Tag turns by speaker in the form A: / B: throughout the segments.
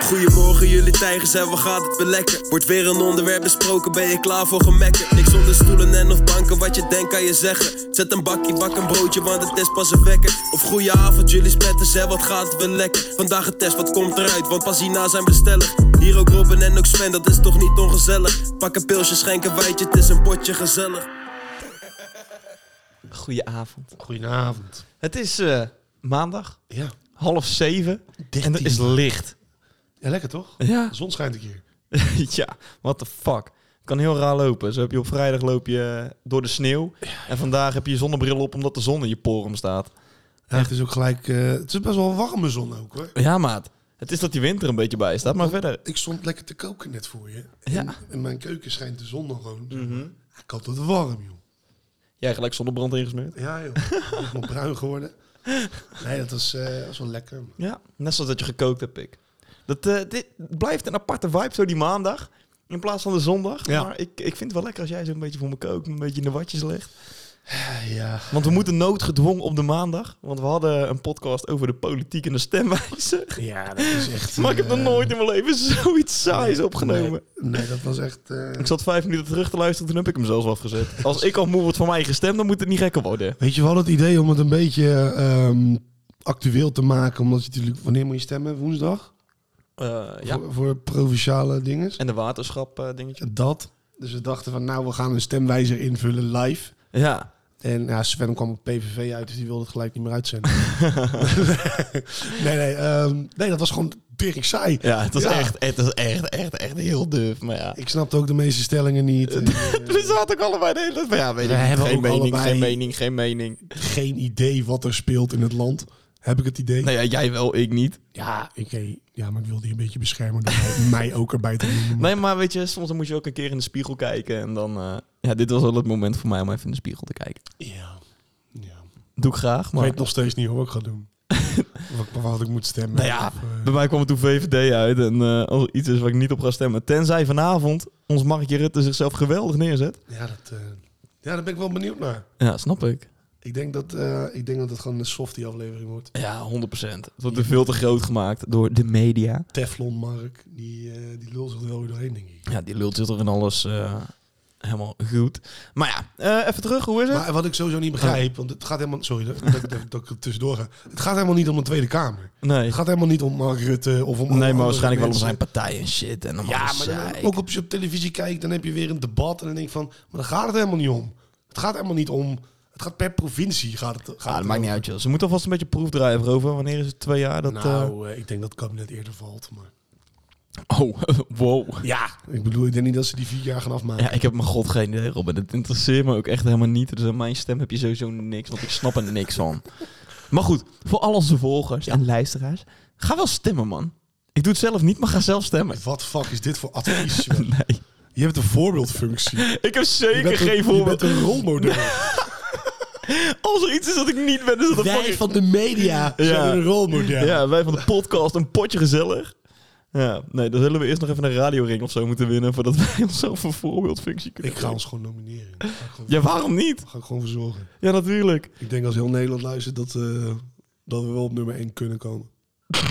A: Goedemorgen jullie tijgers en wat gaat het weer lekker? Wordt weer een onderwerp besproken, ben je klaar voor gemekken? Niks onder stoelen en of banken, wat je denkt kan je zeggen Zet een bakje, bak een broodje, want het is pas een wekker Of goeie avond jullie spetters en wat gaat het weer lekker? Vandaag een test, wat komt eruit, want pas hierna zijn we stellig Hier ook Robin en ook Sven, dat is toch niet ongezellig? Pak een pilsje, schenk een wijtje, het is een potje gezellig
B: Goedenavond.
C: Goedenavond.
B: Het is eh, maandag,
C: Ja.
B: half zeven. En er is licht.
C: ja, lekker toch?
B: Ja.
C: De zon schijnt een keer.
B: ja, what the fuck. Kan heel raar lopen. Zo heb je op vrijdag loop je eh, door de sneeuw. En vandaag heb je je zonnebril op omdat de zon in je porum staat.
C: Ja, het is ook gelijk... eh, het is best wel een warme zon ook hoor.
B: Ja, maat. Het is dat die winter een beetje bij staat, maar verder.
C: Ik stond lekker te koken net voor je.
B: Ja.
C: In mijn keuken schijnt de zon nog gewoon. zeg maar. Ik had het warm joh.
B: Jij gelijk zonnebrand ingesmeerd.
C: Ja joh. Ik ben nog bruin geworden. Nee, dat was, eh, dat was wel lekker.
B: Ja, net zoals dat je gekookt hebt, ik. Dat eh, dit blijft een aparte vibe, zo die maandag. In plaats van de zondag.
C: Ja.
B: Maar ik, ik vind het wel lekker als jij zo'n beetje voor me kookt. Een beetje in de watjes legt.
C: Ja.
B: Want we moeten noodgedwongen op de maandag. Want we hadden een podcast over de politiek en de stemwijze.
C: Ja, dat is echt... eh,
B: Maar ik heb nog nooit in mijn leven zoiets saais opgenomen.
C: Nee, nee, dat was echt... eh,
B: Ik zat vijf minuten terug te luisteren, toen heb ik hem zelfs afgezet. Als ik al moe word van mijn eigen stem, dan moet het niet gekker worden.
C: Weet je wel, het idee om het een beetje ehm, actueel te maken. Omdat je natuurlijk... Wanneer moet je stemmen? Woensdag?
B: Eh, ja.
C: Voor, voor provinciale dingen.
B: En de waterschap eh, dingetje.
C: Dat. Dus we dachten van, nou, we gaan een stemwijzer invullen live.
B: Ja.
C: En ja, Sven kwam op PVV uit, dus die wilde het gelijk niet meer uitzenden. nee, nee, ehm, nee, dat was gewoon tering saai.
B: Ja, het was,
C: Ja.
B: Echt, het was echt, echt, echt heel duf. Maar ja.
C: Ik snapte ook de meeste stellingen niet. Eh,
B: We zaten ook allebei de hele tijd van, ja, weet
C: We
B: ik niet.
C: hebben
B: geen
C: ook
B: mening,
C: allebei-
B: geen mening, geen mening.
C: geen idee wat er speelt in het land. Heb ik het idee?
B: Nou ja, jij wel, ik niet.
C: Ja, oké. Ja, maar ik wilde je een beetje beschermen door mij- mij ook erbij te noemen.
B: Nee, maar weet je, soms dan moet je ook een keer in de spiegel kijken. En dan, eh, ja, dit was wel het moment voor mij om even in de spiegel te kijken.
C: Ja. ja.
B: Doe ik graag,
C: Ik
B: maar...
C: weet nog steeds niet hoe ik ga doen. wat, wat ik moet stemmen.
B: Nou ja,
C: Of, eh,
B: bij mij kwam het toen VVD uit. En eh, als er iets is waar ik niet op ga stemmen. Tenzij vanavond ons Markje Rutte zichzelf geweldig neerzet.
C: ja, dat, eh, ja, daar ben ik wel benieuwd naar.
B: Ja, snap ik.
C: Ik denk dat, eh, ik denk dat het gewoon een softie aflevering wordt.
B: Ja, 100%. Het wordt er veel te groot gemaakt door de media.
C: Teflon Mark, die, eh die lul zich er wel weer doorheen, denk ik.
B: Ja, die lult zit er in alles eh, helemaal goed. Maar ja, eh, even terug. Hoe is het?
C: Maar wat ik sowieso niet begrijp, want het gaat helemaal... Sorry dat, dat, dat, dat ik er tussendoor ga. Het gaat helemaal niet om de Tweede Kamer.
B: nee.
C: Het gaat helemaal niet om Mark Rutte of om... alle
B: Nee, maar
C: andere
B: waarschijnlijk wel om
C: mensen.
B: zijn partij en shit. En om
C: Ja,
B: alles
C: maar dan,
B: zeik.
C: ook op, je op televisie kijkt, dan heb je weer een debat en dan denk ik van... Maar daar gaat het helemaal niet om. Het gaat helemaal niet om... Het gaat per provincie. Gaat het, gaat
B: Ja, Ah, dat
C: het
B: maakt niet
C: erover.
B: uit, joh. Ze moeten alvast een beetje proefdrijven over. Wanneer is het twee jaar? Dat,
C: nou, eh, ik denk dat het kabinet eerder valt, maar...
B: eh, Oh, wow.
C: Ja, ik bedoel, ik denk niet dat ze die vier jaar gaan afmaken.
B: Ja, ik heb mijn god geen idee, Robin. Het interesseert me ook echt helemaal niet. Dus aan mijn stem heb je sowieso niks, want ik snap er niks van. Maar goed, voor al onze volgers en luisteraars, ga wel stemmen, man. Ik doe het zelf niet, maar ga zelf stemmen.
C: Wat fuck is dit voor advies, joh?
B: Nee.
C: Je hebt een voorbeeldfunctie.
B: Ik heb
C: Je
B: zeker
C: bent een-
B: geen voorbeeld.
C: Je bent een rolmodel.
B: Als er iets is dat ik niet ben, is dat een fucking-
C: van de media
B: Ja.
C: rolmodel.
B: Ja, wij van de podcast, een potje gezellig. Ja, nee, dan zullen we eerst nog even een radioring of zo moeten winnen... voordat wij onszelf een voorbeeldfunctie kunnen
C: Ik ga
B: geven.
C: ons gewoon nomineren. Daar ga ik gewoon,
B: Ja, waarom niet?
C: daar ga ik gewoon voor zorgen.
B: Ja, natuurlijk.
C: Ik denk als heel Nederland luistert dat, eh, dat we wel op nummer 1 kunnen komen.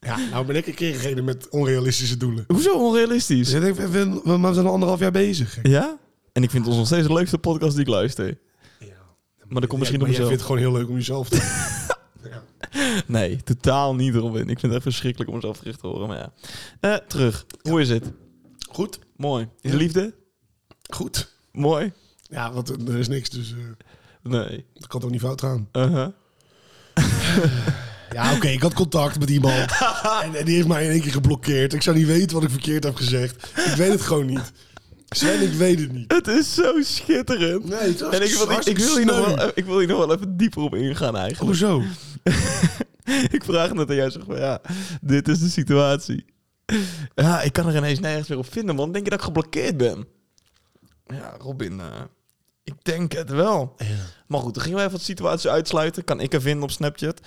C: ja, nou ben ik een keer degene met onrealistische doelen.
B: Hoezo onrealistisch?
C: Dus ik denk, we, we, we- maar we zijn al anderhalf jaar bezig. gek.
B: Ja? En ik vind ons nog steeds de leukste podcast die ik luister. Maar dat komt misschien
C: Ja,
B: op
C: maar
B: mezelf.
C: jij vindt het gewoon heel leuk om jezelf te... ja.
B: Nee, totaal niet, Robin. Ik vind het echt verschrikkelijk om mezelf gericht te horen, maar ja. Eh, terug. Hoe is het?
C: Goed,
B: Mooi. In de
C: Ja.
B: liefde?
C: goed.
B: Mooi?
C: Ja, want er er is niks, dus eh,
B: Nee.
C: dat kan toch niet fout gaan.
B: Uh-huh.
C: Ja, oké, ik had contact met iemand. En, en die heeft mij in één keer geblokkeerd. Ik zou niet weten wat ik verkeerd heb gezegd. Ik weet het gewoon niet. Sven, ik weet het niet.
B: Het is zo schitterend.
C: Nee, het was
B: En ik, wil- ik, ik wil hier nog
C: sneu.
B: wel, ik wil hier nog wel even dieper op ingaan eigenlijk.
C: Hoezo?
B: ik vraag net aan jij zeg van ja, dit is de situatie. Ja, ik kan er ineens nergens meer op vinden, man. Denk je dat ik geblokkeerd ben? Ja, Robin, eh, ik denk het wel. Maar goed, dan gingen we even de situatie uitsluiten. Kan ik er vinden op Snapchat?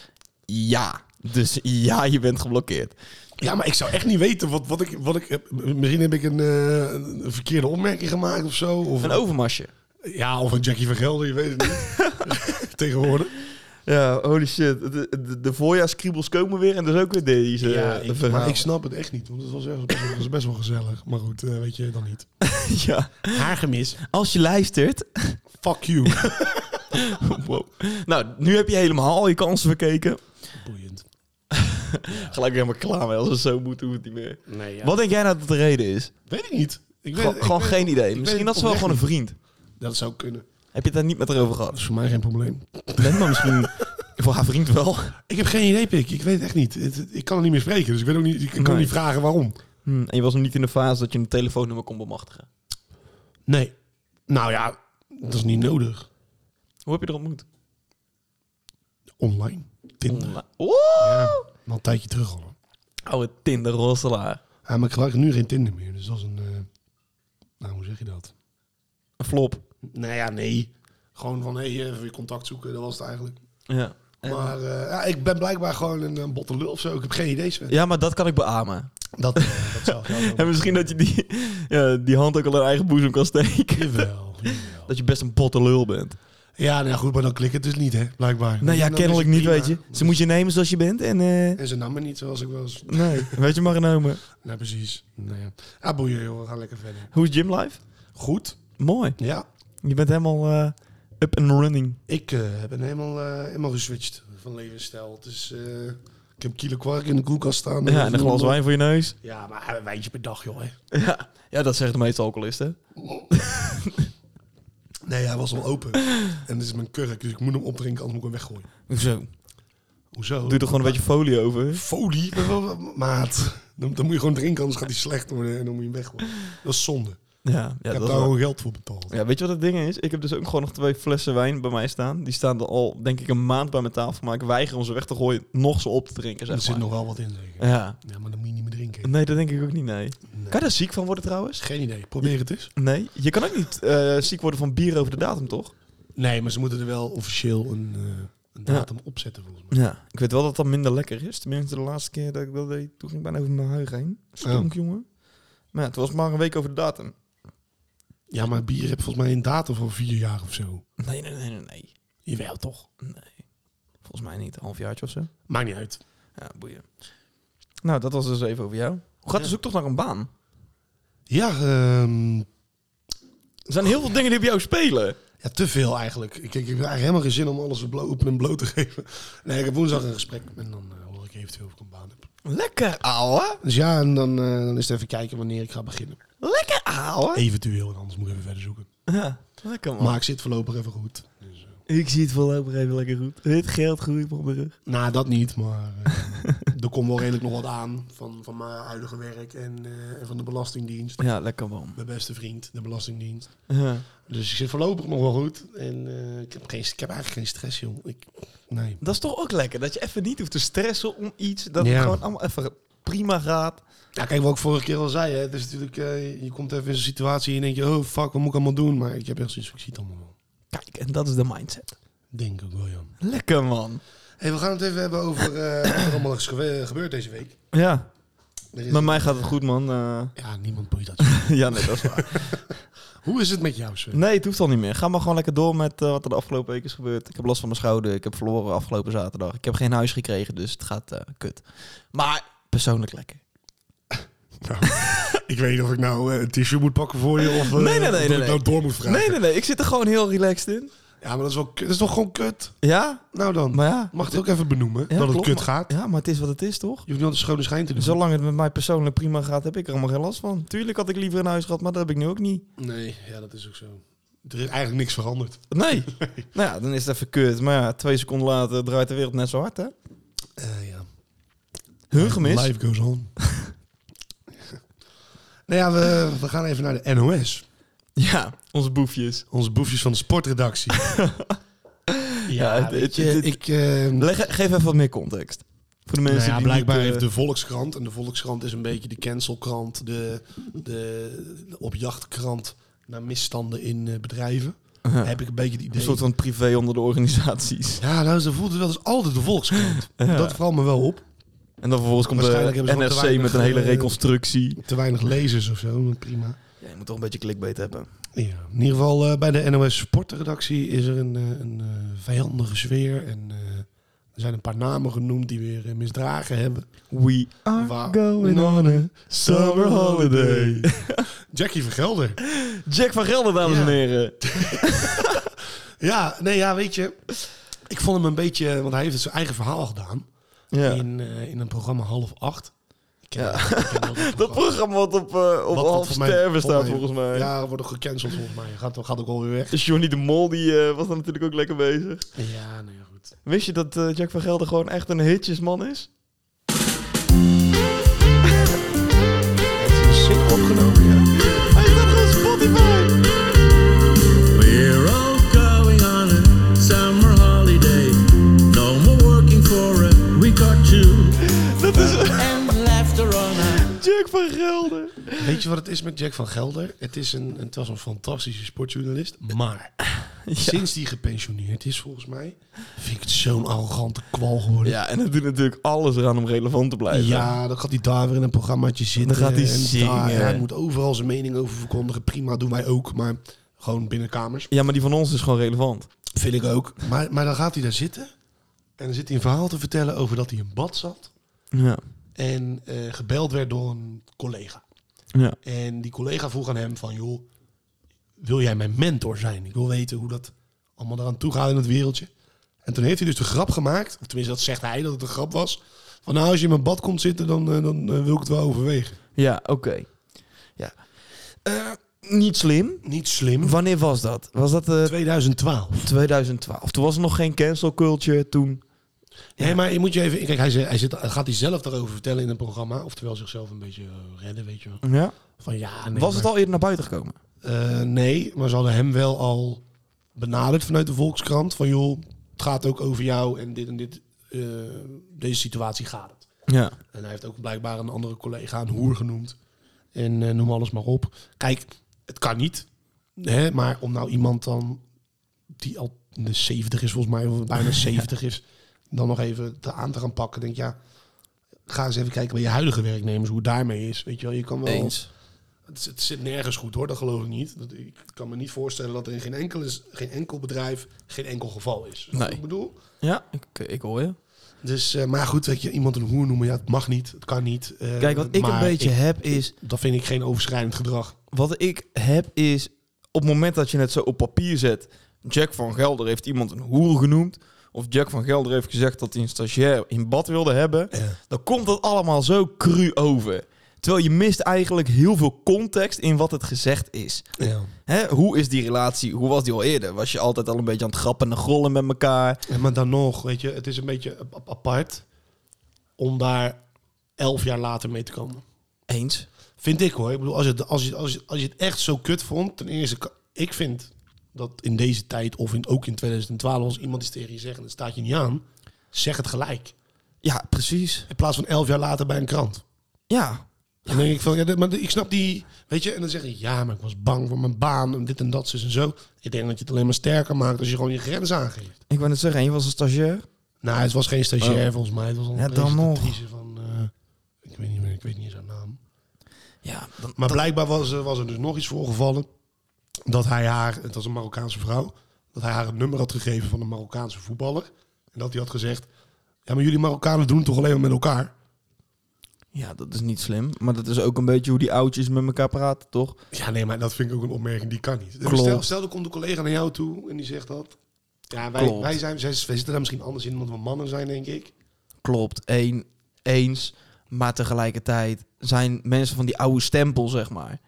B: Ja. Dus ja, je bent geblokkeerd.
C: Ja, maar ik zou echt niet weten wat, wat ik... Wat ik heb. misschien heb ik een, eh, een verkeerde opmerking gemaakt of zo. Of,
B: Een overmasje.
C: ja, of een Jackie van Gelder, je weet het niet. Tegenwoordig.
B: Ja, holy shit. De, de, de voorjaarskriebels komen weer en dat is ook weer deze.
C: Ja,
B: eh,
C: ik-
B: verhaal.
C: maar ik snap het echt niet, want het was, echt, het was best wel gezellig. Maar goed, eh, weet je dan niet.
B: ja.
C: Haar gemis.
B: Als je luistert...
C: Fuck you.
B: Wow. Nou, nu heb je helemaal al je kansen verkeken.
C: Boeiend.
B: Gelijk helemaal klaar mee. Als het zo moet, hoeft het niet meer.
C: Nee, ja.
B: Wat denk jij nou dat de reden is?
C: Weet ik niet. Ik weet,
B: Gewoon-
C: ik
B: gewoon
C: weet-
B: geen idee.
C: ik
B: Misschien
C: weet
B: dat ze wel
C: oprecht
B: gewoon een vriend.
C: niet. Dat zou kunnen.
B: Heb je het daar niet met haar over
C: Dat
B: gehad?
C: is voor mij geen probleem.
B: Nee, maar misschien voor haar vriend wel.
C: Ik heb geen idee, Pik. Ik weet het echt niet. Het- het- ik kan er niet meer spreken, dus ik, weet ook niet, ik kan
B: Nee.
C: niet vragen waarom.
B: Hm, en je was nog niet in de fase dat je een telefoonnummer kon bemachtigen.
C: Nee. Nou ja, dat is niet nodig.
B: Hoe heb je er ontmoet?
C: Online. Tinder.
B: Online. Oeh!
C: Al een tijdje terug al.
B: Oude Tinder rosselaar.
C: Ja, maar ik gebruik nu geen Tinder meer, dus dat is een... eh, nou, hoe zeg je dat?
B: Een flop.
C: Nou ja, nee. Gewoon van, hé, hey, eh, even weer contact zoeken. Dat was het eigenlijk.
B: Ja. En-
C: Maar eh, ja, ik ben blijkbaar gewoon een, een botte lul of zo. Ik heb geen idee, Sven.
B: ja, maar dat kan ik beamen.
C: Dat, dat zou ik
B: En misschien dat je die, ja, die hand ook al in eigen boezem kan steken.
C: Jawel, jawel.
B: Dat je best een botte lul bent.
C: Ja, nou ja, goed, maar dan klik het dus niet, hè, blijkbaar.
B: Nou ja,
C: En dan is
B: kennelijk
C: het
B: niet,
C: prima.
B: weet je. Ze moet je nemen zoals je bent en... eh,
C: En ze nam me niet zoals ik was.
B: nee, weet je maar genomen.
C: Nou, precies. Nou ja, ah, boeien, joh. We gaan lekker verder.
B: Hoe is gymlife?
C: Goed.
B: Mooi.
C: Ja,
B: Je bent helemaal eh, up and running.
C: ik eh, ben helemaal, eh, helemaal geswitcht van levensstijl. Dus eh, ik heb kilo kwark in de koelkast staan.
B: Ja, en een glas wijn voor je neus.
C: Ja, maar een wijntje per dag, joh. Hè.
B: Ja, ja dat zeggen de meeste alcoholisten.
C: Nee, hij was al open. En dit is mijn kurk, dus ik moet hem opdrinken, anders moet ik hem weggooien.
B: Hoezo?
C: Hoezo?
B: Doe er gewoon een beetje folie over.
C: folie. Maar wel- Maat, dan, dan moet je gewoon drinken, anders gaat hij slecht worden en dan moet je hem weggooien. Dat is zonde.
B: Ja, ja
C: ik
B: dat
C: heb
B: is
C: daar
B: waar.
C: gewoon geld voor betaald.
B: Ja, weet je wat het ding is? Ik heb dus ook gewoon nog twee flessen wijn bij mij staan. Die staan er al, denk ik, een maand bij mijn tafel. Maar ik weiger om ze weg te gooien, nog ze op te drinken,
C: er
B: zeg
C: zit
B: maar.
C: nog wel wat in, zeker.
B: Ja.
C: Ja, maar dan moet je niet meer drinken.
B: Nee, dat denk ik ook niet, nee.
C: Nee.
B: Kan je daar ziek van worden trouwens?
C: Geen idee. Probeer het eens.
B: Nee. Je kan ook niet eh, ziek worden van bier over de datum, toch?
C: Nee, maar ze moeten er wel officieel een, eh, een
B: Ja.
C: datum op zetten, volgens mij.
B: Ja. Ik weet wel dat dat minder lekker is. Tenminste, de laatste keer dat ik dat deed, toen ging ik bijna over mijn huig heen. Stonk, jongen. Maar ja, het was maar een week over de datum.
C: Ja, maar bier heeft volgens mij een datum van vier jaar of zo.
B: Nee, nee, nee, nee, nee.
C: Jawel, toch?
B: Nee. Volgens mij niet. Een halfjaartje of zo.
C: Maakt niet uit.
B: Ja, boeien. Nou, dat was dus even over jou. Hoe gaat de zoektocht naar een baan?
C: Ja, ehm,
B: Er zijn heel veel dingen die bij jou spelen.
C: Ja, te veel eigenlijk. Ik, ik heb eigenlijk helemaal geen zin om alles blo- open en bloot te geven. Nee, ik heb woensdag een gesprek en dan eh, hoor ik eventueel of ik een baan heb.
B: Lekker, ouwe.
C: Dus ja, en dan, eh, dan is het even kijken wanneer ik ga beginnen.
B: Lekker, ouwe.
C: Eventueel, en anders moet ik even verder zoeken.
B: Ja, lekker, man.
C: Maar ik zit voorlopig even goed. Dus, eh,
B: ik zie het voorlopig even lekker goed. Het geld groeit op de rug.
C: nou, dat niet, maar eh, er komt wel redelijk nog wat aan van, van mijn huidige werk en, eh, en van de Belastingdienst.
B: Ja, lekker, man.
C: Mijn beste vriend, de Belastingdienst.
B: Ja.
C: Dus ik zit voorlopig nog wel goed. En eh, ik, heb geen, ik heb eigenlijk geen stress, joh. Ik, nee.
B: Dat is toch ook lekker, dat je even niet hoeft te stressen om iets. Dat
C: Ja.
B: het gewoon allemaal even prima gaat.
C: Ja, kijk, wat ik vorige keer al zei, hè, het is natuurlijk, eh, je komt even in zo'n situatie en je denkt, je, oh fuck, wat moet ik allemaal doen? Maar ik heb echt zoiets, van, ik zie het allemaal wel.
B: Kijk, en dat is de mindset.
C: Denk ook wel, Jan.
B: Lekker, man.
C: Hey, we gaan het even hebben over eh, wat er allemaal is gebe- gebeurd deze week.
B: Ja,
C: Er is-
B: met mij gaat het goed, man. Eh,
C: Ja, niemand boeit dat.
B: ja, nee, dat is waar.
C: Hoe is het met jou, Sven?
B: Nee, het hoeft al niet meer. Ga maar gewoon lekker door met eh, wat er de afgelopen week is gebeurd. Ik heb last van mijn schouder. Ik heb verloren afgelopen zaterdag. Ik heb geen huis gekregen, dus het gaat eh, kut. Maar persoonlijk lekker.
C: ik weet niet of ik nou een tissue moet pakken voor je of
B: Nee, nee, nee, of dat ik nee, nee. nou
C: door moet
B: Nee, nee, nee. Ik zit er gewoon heel relaxed in.
C: Ja, maar dat is, wel kut. dat is toch gewoon kut?
B: Ja,
C: Nou dan,
B: maar ja.
C: mag het ook even benoemen
B: Ja,
C: dat het
B: klopt,
C: kut
B: maar-
C: gaat.
B: Ja, maar het is wat het is, toch?
C: Je hoeft niet altijd schone schijn te doen.
B: Zolang het met mij persoonlijk prima gaat, heb ik er allemaal geen last van. Tuurlijk had ik liever een huis gehad, maar dat heb ik nu ook niet.
C: Nee, ja, dat is ook zo. Er is eigenlijk niks veranderd.
B: Nee. nou ja, dan is het even kut. Maar ja, twee seconden later draait de wereld net zo hard, hè?
C: Eh, ja.
B: Hun gemis.
C: Life goes on. nou ja, we, we gaan even naar de NOS.
B: Ja, onze boefjes.
C: Onze boefjes van de sportredactie.
B: Ja,
C: weet
B: het-
C: je,
B: het- het-
C: ik... eh,
B: Leg, geef even wat meer context. Voor de mensen
C: nou ja,
B: die
C: blijkbaar
B: niet, eh,
C: heeft de Volkskrant, en de Volkskrant is een beetje de cancelkrant, de, de, de opjachtkrant naar misstanden in eh, bedrijven.
B: Ja.
C: Heb ik een beetje het idee.
B: Een soort van privé onder de organisaties.
C: Ja, nou, ze voelt het wel eens altijd de Volkskrant.
B: Ja.
C: Dat valt me wel op.
B: En dan vervolgens komt de
C: Waarschijnlijk hebben ze gewoon te
B: NRC met een
C: weinig,
B: hele
C: eh,
B: reconstructie.
C: Te weinig lezers of zo, maar prima.
B: Ja, je moet toch een beetje clickbait hebben.
C: Ja, in ieder geval eh, bij de NOS Sportredactie is er een, eh, een eh, vijandige sfeer en eh, Er zijn een paar namen genoemd die weer eh, misdragen hebben.
B: We are
C: Wow.
B: going on a summer holiday.
C: Jackie van Gelder.
B: Jack van Gelder, dames
C: Ja.
B: en heren.
C: Ja, nee, ja, weet je. Ik vond hem een beetje... Want hij heeft zijn eigen verhaal gedaan.
B: Ja.
C: In, eh, in een programma half acht. Ik ken
B: Ja.
C: dat, ik ken wel
B: Dat programma wat op, eh, op
C: Wat- wat
B: half
C: voor mij-
B: sterven
C: voor
B: staat,
C: mij-
B: volgens mij. Dus
C: Ja, wordt ook gecanceld volgens mij. Gaat, gaat ook alweer weg.
B: Johnny de Mol die, eh, was dan natuurlijk ook lekker bezig.
C: Ja, nou ja, goed.
B: Wist je dat eh, Jack van Gelder gewoon echt een hitjesman is?
C: Het is sick opgenomen, ja.
B: Hij staat gewoon op Spotify!
D: We're all going on a summer holiday. No more working for a week or two.
B: Dat is
D: And laughter on a
B: Jack van Gelder.
C: Weet je wat het is met Jack van Gelder? Het, is een, het was een fantastische sportjournalist. Maar sinds hij gepensioneerd is, volgens mij, vind ik het zo'n arrogante kwal geworden.
B: Ja, en hij doet natuurlijk alles eraan om relevant te blijven.
C: Ja, dan gaat hij daar weer in een programmaatje zitten.
B: Dan gaat hij
C: en daar.
B: zingen.
C: En hij moet overal zijn mening over verkondigen. Prima, doen wij ook. Maar gewoon binnenkamers.
B: ja, maar die van ons is gewoon relevant.
C: Vind ik ook. Maar, maar dan gaat hij daar zitten. En dan zit hij een verhaal te vertellen over dat hij in bad zat.
B: Ja.
C: En eh, gebeld werd door een collega.
B: ja.
C: En die collega vroeg aan hem van... joh, wil jij mijn mentor zijn? Ik wil weten hoe dat allemaal eraan toe gaat in het wereldje. En toen heeft hij dus de grap gemaakt. Of tenminste, dat zegt hij dat het een grap was. Van nou, als je in mijn bad komt zitten, dan, eh, dan eh, wil ik het wel overwegen.
B: Ja, oké. Ja. Eh, niet slim.
C: Niet slim.
B: Wanneer was dat? Was dat eh,
C: 2012.
B: 2012? Toen was er nog geen cancel culture. Toen.
C: Nee, maar je moet je even... Kijk, hij, zit- hij zit, gaat hij zelf daarover vertellen in een programma. Oftewel zichzelf een beetje eh, redden, weet je wel.
B: Ja.
C: Van ja, nee,
B: was het
C: maar-
B: al eerder naar buiten gekomen?
C: Eh, nee, maar ze hadden hem wel al benaderd vanuit de Volkskrant. Van joh, het gaat ook over jou en dit en dit. eh, deze situatie gaat het.
B: Ja.
C: En hij heeft ook blijkbaar een andere collega een hoer genoemd. En eh, noem alles maar op. Kijk, het kan niet. Hè, maar om nou iemand dan, die al in de 70 is volgens mij, of bijna 70 is, dan nog even te aan te gaan pakken. Denk ik, ja, ga eens even kijken bij je huidige werknemers, hoe het daarmee is. Weet je wel, je kan wel... Het, is- het zit nergens goed hoor, dat geloof ik niet. Dat, ik kan me niet voorstellen dat er in geen, enkel is, geen enkel bedrijf geen enkel geval is. Snap je wat
B: Nee.
C: Ik bedoel.
B: Ja, ik, ik hoor je.
C: Dus, eh, maar goed, weet je, iemand een hoer noemen, ja, het mag niet, het kan niet. eh,
B: Kijk, wat ik een
C: maar
B: beetje
C: ik-
B: heb is...
C: dat vind ik geen overschrijdend gedrag.
B: Wat ik heb is... Op het moment dat je het zo op papier zet... Jack van Gelder heeft iemand een hoer genoemd... Of Jack van Gelder heeft gezegd dat hij een stagiair in bad wilde hebben... Dan komt dat allemaal zo cru over. Terwijl je mist eigenlijk heel veel context in wat het gezegd is.
C: Ja.
B: Hè, hoe is die relatie? Hoe was die al eerder? Was je altijd al een beetje aan het grappen en grollen met elkaar?
C: En Eh, maar dan nog, weet je, het is een beetje a- a- apart om daar elf jaar later mee te komen.
B: Eens.
C: Vind ik hoor. Ik bedoel, als je het, als je, als je, als je het echt zo kut vond, ten eerste, ka- ik vind dat in deze tijd, of in, ook in 2012, als iemand iets tegen je zegt en het staat je niet aan, zeg het gelijk.
B: Ja, precies.
C: In plaats van elf jaar later bij een krant.
B: Ja.
C: Dan denk ik van, ja, dit- maar ik snap die, weet je, en dan zeg je, ja, maar ik was bang voor mijn baan en dit en dat, zus en zo. Ik denk dat je het alleen maar sterker maakt als je gewoon je grens aangeeft.
B: Ik wou net zeggen, en je was een stagiair?
C: Nou, het was geen stagiair volgens mij, het was een
B: Oh. Ja, dan nog.
C: presentatrice van, eh, ik weet niet meer, ik weet niet eens haar naam.
B: Ja. Dan,
C: Maar blijkbaar was, er- was er dus nog iets voorgevallen. Dat hij haar, het was een Marokkaanse vrouw, dat hij haar het nummer had gegeven van een Marokkaanse voetballer. En dat hij had gezegd, ja maar jullie Marokkanen doen het toch alleen maar met elkaar?
B: ja, dat is niet slim. Maar dat is ook een beetje hoe die oudjes met elkaar praten, toch?
C: Ja nee, maar dat vind ik ook een opmerking, die kan niet. Dus
B: Klopt.
C: Stel, stel, er komt een collega naar jou toe en die zegt dat. Ja, wij,
B: Klopt.
C: wij, zijn, zij, wij zitten daar misschien anders in omdat we mannen zijn, denk ik.
B: Klopt. Eén, eens. Maar tegelijkertijd zijn mensen van die oude stempel, zeg maar.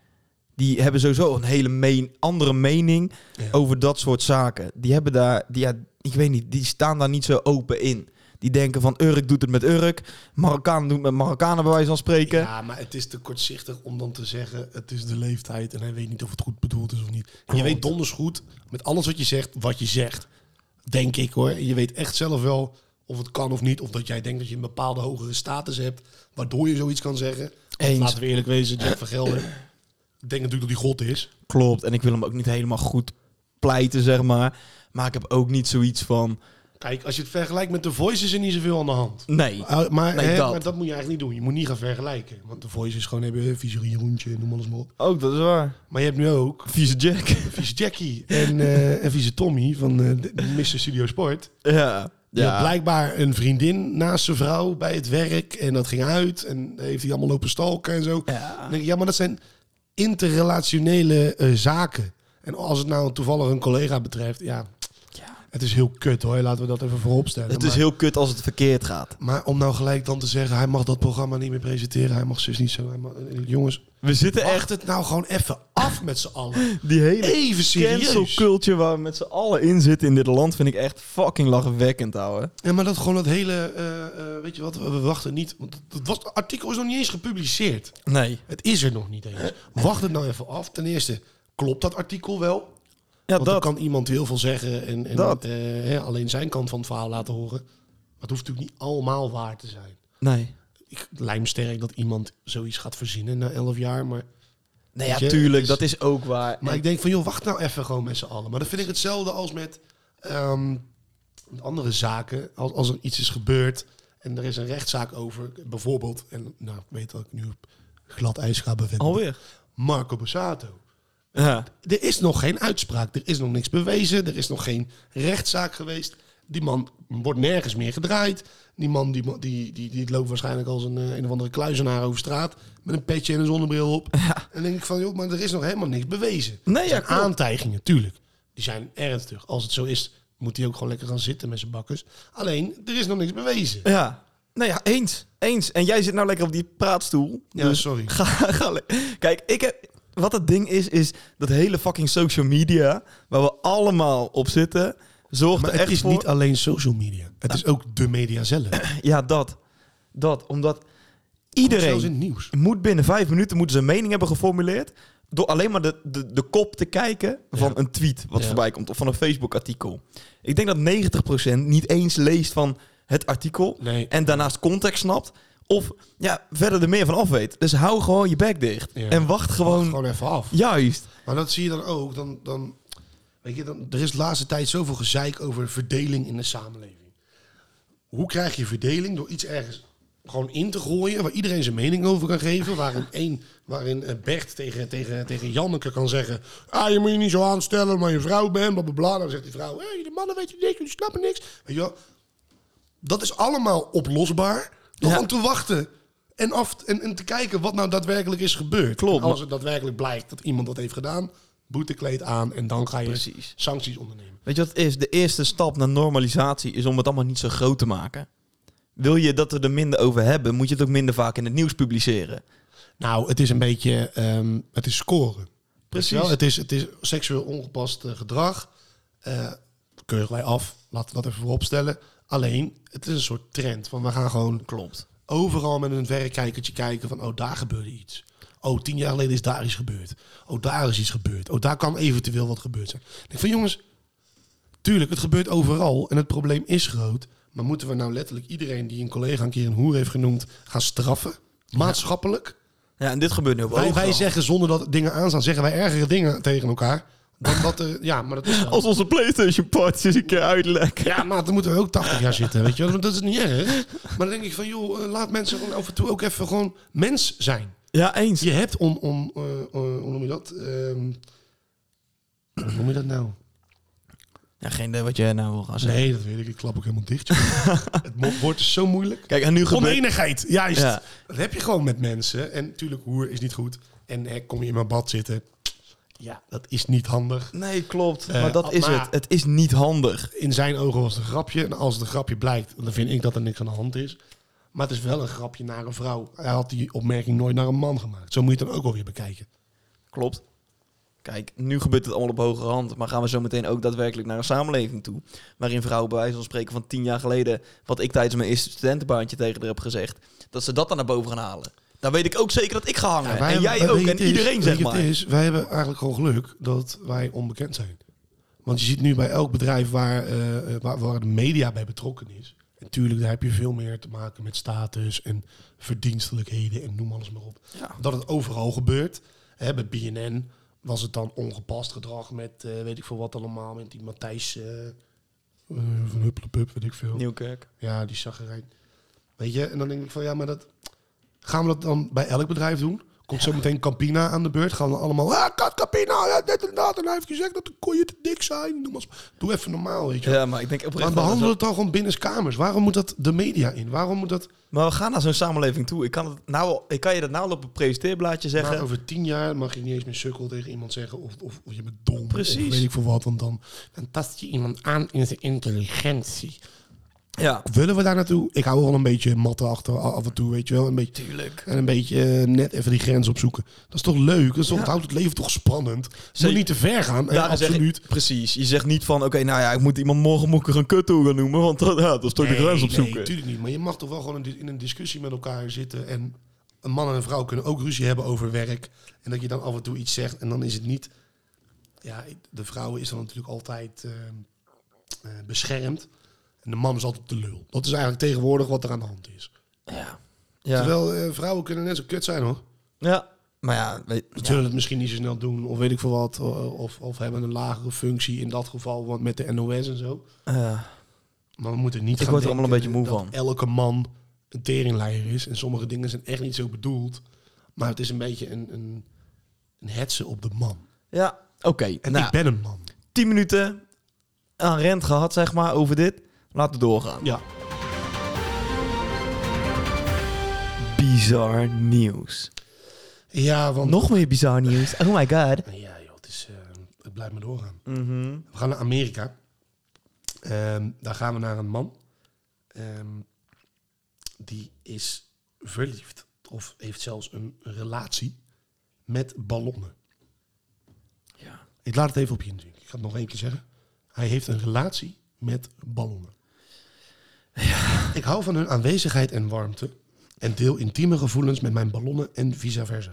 B: Die hebben sowieso een hele meen, andere mening
C: Ja.
B: over dat soort zaken. Die hebben daar, die, ja, ik weet niet, die staan daar niet zo open in. Die denken van Urk doet het met Urk, Marokkanen doen het met Marokkanen bij wijze van spreken.
C: Ja, maar het is te kortzichtig om dan te zeggen, het is de leeftijd en hij weet niet of het goed bedoeld is of niet. En je weet donders goed, met alles wat je zegt, wat je zegt. Denk ik hoor. En Je weet echt zelf wel of het kan of niet. Of dat jij denkt dat je een bepaalde hogere status hebt, waardoor je zoiets kan zeggen. Want
B: Eens.
C: Laten we eerlijk wezen, Jack van Gelder. Ik denk natuurlijk dat hij God is.
B: Klopt. En ik wil hem ook niet helemaal goed pleiten, zeg maar. Maar ik heb ook niet zoiets van,
C: Kijk, als je het vergelijkt met The Voice is er niet zoveel aan de hand.
B: nee.
C: Uh, maar,
B: Nee,
C: hè,
B: dat.
C: maar dat moet je eigenlijk niet doen. Je moet niet gaan vergelijken. Want The Voice is gewoon hebben vieze rondje, noem alles maar op.
B: Ook dat is waar.
C: Maar je hebt nu ook
B: Vieze Jack.
C: vieze Jackie en, eh en vieze Tommy van eh, de- de Mr. Studio Sport.
B: ja.
C: Die
B: Ja.
C: had blijkbaar een vriendin naast zijn vrouw bij het werk. En dat ging uit. En heeft hij allemaal lopen stalken en zo.
B: Ja.
C: Dan denk ik, ja, maar dat zijn interrelationele eh, zaken. En als het nou toevallig een collega betreft, ja. Het is heel kut hoor, laten we dat even vooropstellen.
B: Het is
C: maar,
B: heel kut als het verkeerd gaat.
C: maar om nou gelijk dan te zeggen, hij mag dat programma niet meer presenteren. Hij mag zus niet zo. Hij mag, eh, jongens,
B: We zitten
C: echt het nou gewoon even af met z'n allen.
B: Die hele
C: Even
B: cancel
C: serieus.
B: culture waar we met z'n allen in zitten in dit land vind ik echt fucking lachwekkend, ouwe.
C: Ja, maar dat gewoon dat hele, eh, eh, weet je wat, we we wachten niet. Want het, was, het artikel is nog niet eens gepubliceerd.
B: Nee.
C: Het is er nog niet eens. Wacht het nou even af. Ten eerste, klopt dat artikel wel?
B: Ja,
C: Want dan
B: dat.
C: kan iemand heel veel zeggen en, en
B: Dat.
C: eh, hè, alleen zijn kant van het verhaal laten horen. Maar het hoeft natuurlijk niet allemaal waar te zijn.
B: Nee.
C: Ik lijm sterk dat iemand zoiets gaat verzinnen na elf jaar. Maar,
B: Nee,
C: Weet
B: ja,
C: je,
B: tuurlijk,
C: het is-
B: dat is ook waar.
C: maar ik denk van, joh, wacht nou even gewoon met z'n allen. Maar dat vind ik hetzelfde als met, ehm, met andere zaken. Als, als er iets is gebeurd en er is een rechtszaak over, bijvoorbeeld. En nou, ik weet dat ik nu op glad ijs ga bevinden.
B: Alweer.
C: Marco Borsato.
B: Ja.
C: Er is nog geen uitspraak. Er is nog niks bewezen. Er is nog geen rechtszaak geweest. Die man wordt nergens meer gedraaid. Die man die, die, die, die loopt waarschijnlijk als een, eh, een of andere kluizenaar over straat. Met een petje en een zonnebril op. En dan denk ik van, joh, maar er is nog helemaal niks bewezen.
B: Nee,
C: er
B: ja,
C: zijn
B: klopt.
C: aantijgingen, tuurlijk. Die zijn ernstig. Als het zo is, moet hij ook gewoon lekker gaan zitten met zijn bakkers. Alleen, er is nog niks bewezen.
B: Ja. Nou ja, eens. Eens. En jij zit nou lekker op die praatstoel. Dus
C: Ja, sorry.
B: Ga, ga le- Kijk, ik heb... Wat het ding is, is dat hele fucking social media, waar we allemaal op zitten, zorgt
C: Maar
B: er
C: het
B: echt
C: is
B: voor...
C: niet alleen social media. Het is ook de media zelf.
B: Ja, dat. Dat, omdat
C: Zelfs
B: iedereen
C: in het nieuws.
B: moet binnen vijf minuten moeten ze een mening hebben geformuleerd. Door alleen maar de, de, de kop te kijken van een tweet wat
C: Ja.
B: voorbij komt. Of van een Facebook-artikel. Ik denk dat 90% niet eens leest van het artikel.
C: Nee.
B: En daarnaast context snapt. Of ja, verder er meer van af weet. Dus hou gewoon je bek dicht.
C: Ja.
B: En wacht gewoon.
C: Gewoon even af.
B: Juist.
C: Maar dat zie je dan ook. Dan, dan, weet je, dan, er is de laatste tijd zoveel gezeik over verdeling in de samenleving. Hoe krijg je verdeling door iets ergens gewoon in te gooien... waar iedereen zijn mening over kan geven? Waarin, één, waarin eh, Bert tegen, tegen, tegen Janneke kan zeggen... Ah, je moet je niet zo aanstellen, maar je vrouw bent, blablabla. Dan zegt die vrouw, hé, de mannen weten niks, die snappen niks. Weet je wel? Dat is allemaal oplosbaar door
B: Ja.
C: gewoon te wachten... En, af, en, en te kijken wat nou daadwerkelijk is gebeurd.
B: Klopt,
C: En Als het daadwerkelijk blijkt dat iemand dat heeft gedaan, boetekleed aan en dan ga je
B: Precies.
C: sancties ondernemen.
B: Weet je wat het is? De eerste stap naar normalisatie is om het allemaal niet zo groot te maken. Wil je dat we er minder over hebben, moet je het ook minder vaak in het nieuws publiceren.
C: Nou, het is een beetje, ehm, het is scoren.
B: Precies.
C: Weet je wel? Het is, het is seksueel ongepast eh, gedrag. Eh keuren wij af, laten we dat even vooropstellen. Alleen, het is een soort trend van we gaan gewoon
B: Klopt.
C: overal met een verrekijkertje kijken van oh, daar gebeurde iets. Oh, tien jaar geleden is daar iets gebeurd. Oh, daar is iets gebeurd. Oh, daar kan eventueel wat gebeurd zijn. Ik denk van jongens, tuurlijk, het gebeurt overal en het probleem is groot. Maar moeten we nou letterlijk iedereen die een collega een keer een hoer heeft genoemd gaan straffen? Maatschappelijk?
B: Ja, en dit gebeurt nu ook.
C: Wij, wij
B: overal.
C: zeggen zonder dat dingen aanstaan, zeggen wij ergere dingen tegen elkaar. Dan dat er, ja, maar dat is zo.
B: Als onze PlayStation partjes een keer uitlekken.
C: Ja, maar dan moeten we ook 80 jaar zitten, weet je wel. Want Dat is niet erg. Maar dan denk ik van, joh, eh, laat mensen gewoon af en toe ook even gewoon mens zijn.
B: Ja, eens.
C: Je hebt om, om eh, eh, hoe noem je dat? Ehm, hoe noem je dat nou?
B: Ja, geen idee wat jij nou wil gaan zeggen.
C: Nee, dat weet ik. Ik klap ook helemaal dicht. joh. het mo- woord is zo moeilijk.
B: Kijk, en nu gebeurt...
C: Oneenigheid, juist.
B: Ja.
C: Dat heb je gewoon met mensen. En natuurlijk, hoer is niet goed. En hè, kom je in mijn bad zitten. Ja, dat is niet handig.
B: Nee, klopt.
C: Eh,
B: maar dat is
C: maar-
B: het. Het is niet handig.
C: In zijn ogen was het een grapje. En als het een grapje blijkt, dan vind ik dat er niks aan de hand is. Maar het is wel een grapje naar een vrouw. Hij had die opmerking nooit naar een man gemaakt. Zo moet je het dan ook alweer bekijken.
B: Klopt. Kijk, nu gebeurt het allemaal op hoger hand. Maar gaan we zo meteen ook daadwerkelijk naar een samenleving toe. Waarin vrouwen bij wijze van spreken van tien jaar geleden... wat ik tijdens mijn eerste studentenbaantje tegen haar heb gezegd... dat ze dat dan naar boven gaan halen. Dan weet ik ook zeker dat ik ga hangen. en jij ook. En iedereen, zeg maar.
C: Het is, wij hebben eigenlijk gewoon geluk dat wij onbekend zijn. Want je ziet nu bij elk bedrijf waar, eh, eh, waar, waar de media bij betrokken is. Natuurlijk, daar heb je veel meer te maken met status en verdienstelijkheden en noem alles maar op.
B: Ja.
C: Dat het overal gebeurt. Hè, bij BNN was het dan ongepast gedrag met eh, weet ik veel wat allemaal. Met die Matthijs eh, eh, van Huppelepup, weet ik veel.
B: Nieuwkerk.
C: Ja, die zaggerijn. Weet je, en dan denk ik van ja, maar dat gaan we dat dan bij elk bedrijf doen? Komt zo meteen Campina aan de beurt. Gaan we allemaal... Ah, kat Campina, ja, dit en dat. En hij heeft gezegd dat de koeien te dik zijn. Doe, maar eens- doe even normaal, weet je wel.
B: Ja, maar ik denk oprecht...
C: maar
B: dat het
C: behandel het dan gewoon binnenskamers. Waarom moet dat de media in? Waarom moet dat...
B: wel- maar we gaan naar zo'n samenleving toe. Ik kan, het nou, al- ik kan je dat nou al op een presenteerblaadje zeggen.
C: Maar over tien jaar mag je niet eens meer sukkel tegen iemand zeggen of, of, of je bent dom.
B: Precies.
C: Of weet ik veel wat. Want dan, dan tast je iemand aan in zijn intelligentie.
B: ja,
C: Willen we daar naartoe? Ik hou wel een beetje matten achter af en toe, weet je wel. Een beetje,
B: tuurlijk.
C: en een beetje eh, net even die grens opzoeken. Dat is toch leuk? Dat is toch, het houdt het leven toch spannend? Moet
B: Zeker.
C: niet te ver gaan. En
B: Daarom zeg ik-
C: absoluut.
B: precies. Je zegt niet van, oké, nou ja, ik moet iemand morgen moet ik er een kut toe gaan noemen, want dat, ja, dat is toch de grens opzoeken.
C: Nee, natuurlijk niet. Maar je mag toch wel gewoon in, di- in een discussie met elkaar zitten. En een man en een vrouw kunnen ook ruzie hebben over werk. En dat je dan af en toe iets zegt en dan is het niet... Ja, ik- de vrouw is dan natuurlijk altijd ehm, eh, beschermd. En de man is altijd de lul. Dat is eigenlijk tegenwoordig wat er aan de hand is.
B: ja. Ja.
C: Terwijl eh, vrouwen kunnen net zo kut zijn hoor.
B: ja, maar ja, weet,
C: Ze zullen het misschien niet zo snel doen. Of weet ik veel wat. o- Of, of hebben een lagere functie in dat geval. Want met de NOS en zo.
B: eh,
C: Maar we moeten niet
B: Ik
C: gaan
B: word er allemaal
C: denken
B: een beetje moe
C: dat
B: van.
C: elke man een teringleier is. En sommige dingen zijn echt niet zo bedoeld. Maar het is een beetje een, een, een hetsen op de man.
B: ja, oké.
C: En
B: nou,
C: ik ben een man.
B: 10 minuten aan rent gehad, zeg maar, over dit. Laten we doorgaan.
C: Ja.
B: Bizar nieuws.
C: Ja, want...
B: Nog meer bizar nieuws. Oh my god.
C: Ja joh, het, is, eh, het blijft maar doorgaan. We gaan naar Amerika. Ehm, daar gaan we naar een man. Ehm, die is verliefd. Of heeft zelfs een relatie met ballonnen.
B: Ja.
C: Ik laat het even op je inzien. Ik ga het nog één keer zeggen. Hij heeft een relatie met ballonnen. Ik hou van hun aanwezigheid en warmte. En deel intieme gevoelens met mijn ballonnen en vice versa.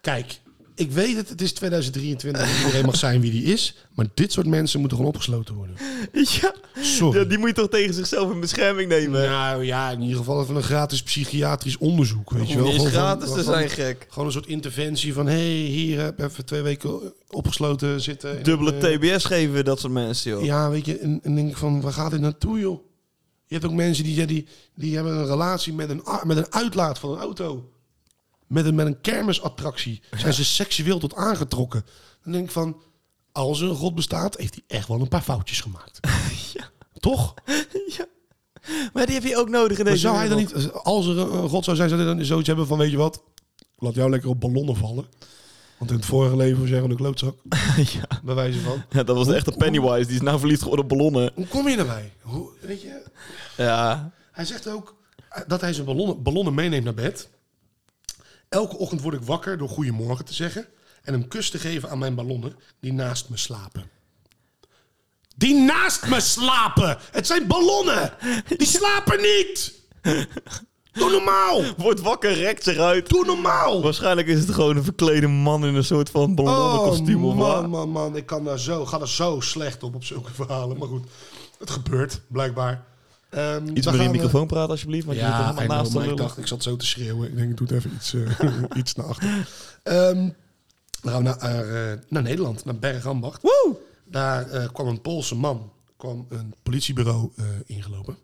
C: Kijk, ik weet het, het is 2023. en Iedereen mag zijn wie die is. Maar dit soort mensen moeten gewoon opgesloten worden.
B: Ja.
C: Sorry.
B: die moet je toch tegen zichzelf in bescherming nemen.
C: Nou ja, in ieder geval even een gratis psychiatrisch onderzoek. Weet
B: Hoeft
C: je wel.
B: niet eens
C: Gewoon van-
B: gratis te
C: van-
B: zijn, gek.
C: Gewoon een soort interventie van... hé, hey, hier heb even twee weken opgesloten zitten.
B: Dubbele
C: En, eh,
B: TBS geven, dat soort mensen, joh.
C: Ja, weet je, en, en denk ik van, waar gaat dit naartoe, joh? Je hebt ook mensen die, die, die hebben een relatie met een, a- met een uitlaat van een auto. Met een, met een kermisattractie. Zijn ze seksueel tot aangetrokken. Dan denk ik van, als er een god bestaat, heeft hij echt wel een paar foutjes gemaakt. Toch?
B: Maar die heb je ook nodig in
C: Maar
B: deze
C: zou hij dan
B: wereld.
C: niet, als er een een god zou zijn, zou hij dan zoiets hebben van, weet je wat? Laat jou lekker op ballonnen vallen. Want in het vorige leven was jij gewoon een klootzak.
B: ja.
C: Bij wijze van.
B: Ja, dat was echt een Pennywise. Die is nou verliefd geworden op ballonnen.
C: Hoe kom je daarbij? Hoe, weet je,
B: Ja.
C: Hij zegt ook eh, dat hij zijn ballonnen, ballonnen meeneemt naar bed. Elke ochtend word ik wakker door goedemorgen te zeggen. En een kus te geven aan mijn ballonnen die naast me slapen. Die naast me slapen! Het zijn ballonnen! Die slapen niet! Doe normaal!
B: Wordt wakker, rekt zich uit.
C: Doe normaal!
B: Waarschijnlijk is het gewoon een verklede man in een soort van ballonnenkostuum
C: Oh,
B: of
C: man,
B: wat.
C: man, man. Ik kan daar zo, ga er zo slecht op, op zulke verhalen. Maar goed, het gebeurt, blijkbaar. Ehm, dan
B: Iets meer in
C: gaan
B: je
C: we-
B: microfoon praten alsjeblieft, want je zit er
C: Ja, I
B: helemaal
C: know,
B: naast te
C: maar ik
B: lullen.
C: dacht, ik zat zo te schreeuwen. Ik denk, ik doe het even iets, eh, iets naar achter. Ehm, dan gaan we naar, eh, naar Nederland, naar Bergambacht.
B: Woe!
C: Daar eh, kwam een Poolse man, kwam een politiebureau eh, ingelopen.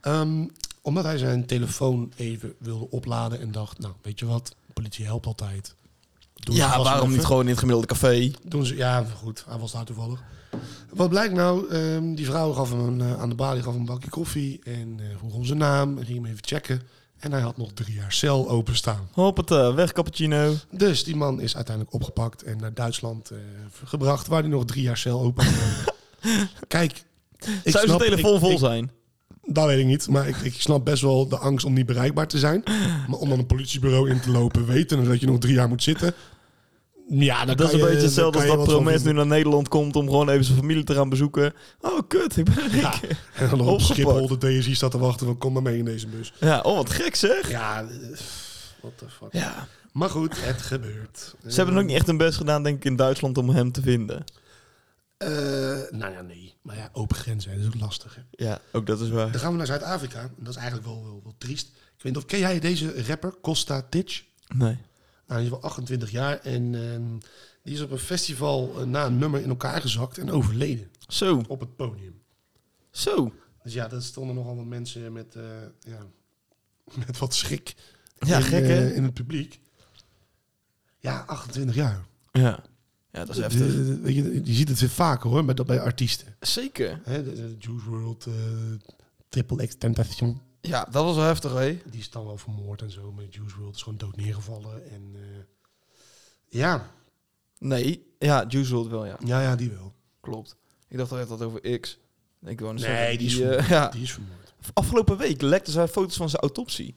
C: Ehm, omdat hij zijn telefoon even wilde opladen en dacht, nou, weet je wat, politie helpt altijd. Doe het
B: Ja,
C: vast
B: waarom
C: even.
B: niet gewoon in het gemiddelde café?
C: Doen ze, ja, goed, hij was daar toevallig. Wat blijkt nou, ehm, die vrouw gaf hem een, eh, aan de balie gaf hem een bakje koffie en eh, vroeg om zijn naam en ging hem even checken. En hij had nog drie jaar cel openstaan.
B: Hoppata, weg cappuccino.
C: Dus die man is uiteindelijk opgepakt en naar Duitsland eh, gebracht, waar hij nog drie jaar cel open had. Kijk, ik
B: Zou zijn
C: snap-
B: telefoon
C: ik-
B: vol
C: ik-
B: zijn?
C: dat weet ik niet, maar ik, ik snap best wel de angst om niet bereikbaar te zijn. Maar om dan een politiebureau in te lopen, weten dat je nog drie jaar moet zitten. Ja, dan
B: Dat is
C: kan
B: een
C: je-
B: beetje
C: dan
B: hetzelfde
C: kan
B: als
C: je
B: dat
C: wat van
B: Promes
C: vinden.
B: nu naar Nederland komt om gewoon even zijn familie te gaan bezoeken. Oh, kut, ik ben er
C: Ja,
B: niet.
C: en dan op
B: Opgepakt.
C: Schiphol de DSI staat te wachten van kom maar mee in deze bus.
B: Ja, oh, wat gek zeg.
C: Ja, eh, what the fuck.
B: Ja.
C: Maar goed, het gebeurt.
B: Ze hebben ook niet echt hun best gedaan, denk ik, in Duitsland om hem te vinden.
C: nou ja, nee. Maar ja, open grenzen, hè, dat is ook lastig. Hè.
B: Ja, ook dat is
C: Dan
B: waar.
C: gaan we naar Zuid-Afrika. En Dat is eigenlijk wel, wel, wel triest. Ik weet niet of, ken jij deze rapper, Costa Titch?
B: Nee.
C: Nou, hij is wel 28 jaar en ehm, die is op een festival eh, na een nummer in elkaar gezakt en overleden
B: Zo,
C: op het podium.
B: zo.
C: Dus ja, daar stonden nogal wat mensen met, eh, ja, met wat schrik
B: Ja,
C: in,
B: gek
C: eh,
B: hè?
C: in het publiek. Ja, 28 jaar.
B: Ja. Ja, dat is
C: De-
B: heftig.
C: de- weet je, je ziet het weer vaker hoor, bij, bij artiesten.
B: Zeker.
C: Hè, de, de Juice World, eh, Triple X Tentation.
B: Ja, dat was wel heftig, hé.
C: Die is dan wel vermoord en zo. Maar Juice World is gewoon dood neergevallen. En, eh, ja.
B: Nee. Ja, Juice WRLD wel, ja.
C: ja, ja, die wel.
B: Klopt. Ik dacht altijd dat het over X. Ik wou net
C: Nee,
B: zeggen,
C: die is,
B: eh,
C: vermoord.
B: ja.
C: die is vermoord.
B: Afgelopen week lekte zij foto's van zijn autopsie.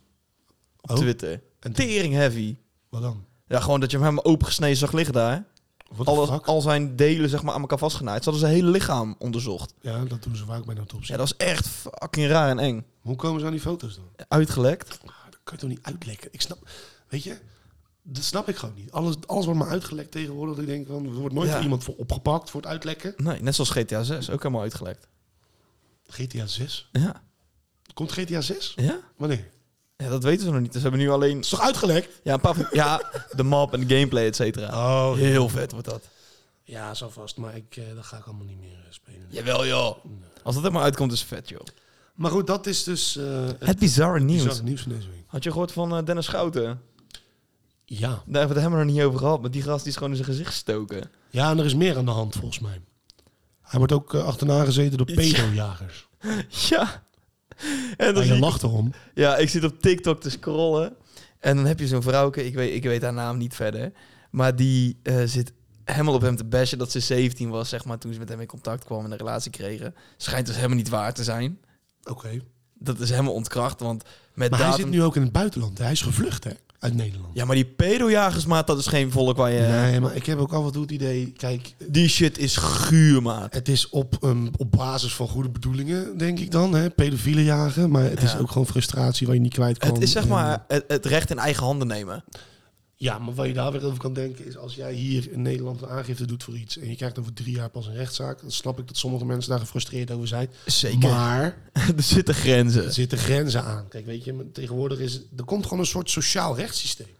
B: Op
C: Oh.
B: Twitter.
C: En toen-
B: Tering heavy.
C: Wat dan?
B: Ja, gewoon dat je hem helemaal opengesneden zag liggen daar.
C: Wat
B: Alle,
C: de fuck?
B: al zijn delen zeg maar aan elkaar vastgenaaid. Ze hadden zijn hele lichaam onderzocht.
C: Ja, dat doen ze vaak bij een autopsie.
B: Ja, dat is echt fucking raar en eng.
C: Hoe komen ze aan die foto's dan?
B: Uitgelekt.
C: Ah, Dat kan je toch niet uitlekken? Ik snap... Weet je? Dat snap ik gewoon niet. Alles, alles wordt maar uitgelekt tegenwoordig. Ik denk, van, er wordt nooit
B: Ja.
C: iemand voor opgepakt voor het uitlekken.
B: Nee, net zoals GTA 6. Ook helemaal uitgelekt.
C: GTA 6.
B: Ja.
C: Komt GTA 6?
B: Ja?
C: Wanneer?
B: Ja, dat weten ze nog niet. Dus ze hebben nu alleen
C: Is toch uitgelekt?
B: ja, een paar van- ja, de map en de gameplay, et cetera.
C: Oh, ja.
B: Heel vet wordt dat.
C: Ja, zo vast. Maar ik, eh, dat ga ik allemaal niet meer eh, spelen.
B: Jawel, joh. Als dat er maar uitkomt, is het vet, joh.
C: Maar goed, dat is dus eh, het
B: Het bizarre nieuws.
C: bizarre nieuws van deze week.
B: Had je gehoord van eh, Dennis Schouten?
C: Ja.
B: Daar hebben we het helemaal nog niet over gehad. Maar die gast die is gewoon in zijn gezicht gestoken.
C: ja, en er is meer aan de hand volgens mij. Hij wordt ook eh, achterna gezeten door
B: Ja.
C: pedojagers.
B: Ja. En
C: En
B: dan
C: je
B: zie ik-
C: lacht erom.
B: Ja, ik zit op TikTok te scrollen. En dan heb je zo'n vrouwke, ik weet, ik weet haar naam niet verder. Maar die eh, zit helemaal op hem te bashen dat ze 17 was, zeg maar, toen ze met hem in contact kwam en een relatie kregen. Schijnt dus helemaal niet waar te zijn.
C: Oké.
B: Dat is helemaal ontkracht, want met
C: Maar hij
B: datum...
C: zit nu ook in het buitenland. hè? Hij is gevlucht, hè? Uit Nederland.
B: Ja, maar die pedojagers, maat, dat is geen volk waar je...
C: Nee, maar ik heb ook af en toe het idee... Kijk,
B: Die shit is guur, maat.
C: het is op, ehm, op basis van goede bedoelingen, denk ik dan. Hè? Pedofielen jagen. Maar het is
B: Ja.
C: ook gewoon frustratie waar je niet kwijt kan.
B: Het is zeg
C: En-
B: maar het, het recht in eigen handen nemen.
C: Ja, maar wat je daar weer over kan denken is als jij hier in Nederland een aangifte doet voor iets en je krijgt over drie jaar pas een rechtszaak, dan snap ik dat sommige mensen daar gefrustreerd over zijn.
B: Zeker.
C: Maar
B: er zitten
C: er
B: grenzen.
C: zitten grenzen aan. Kijk, weet je, maar tegenwoordig is er komt gewoon een soort sociaal rechtssysteem.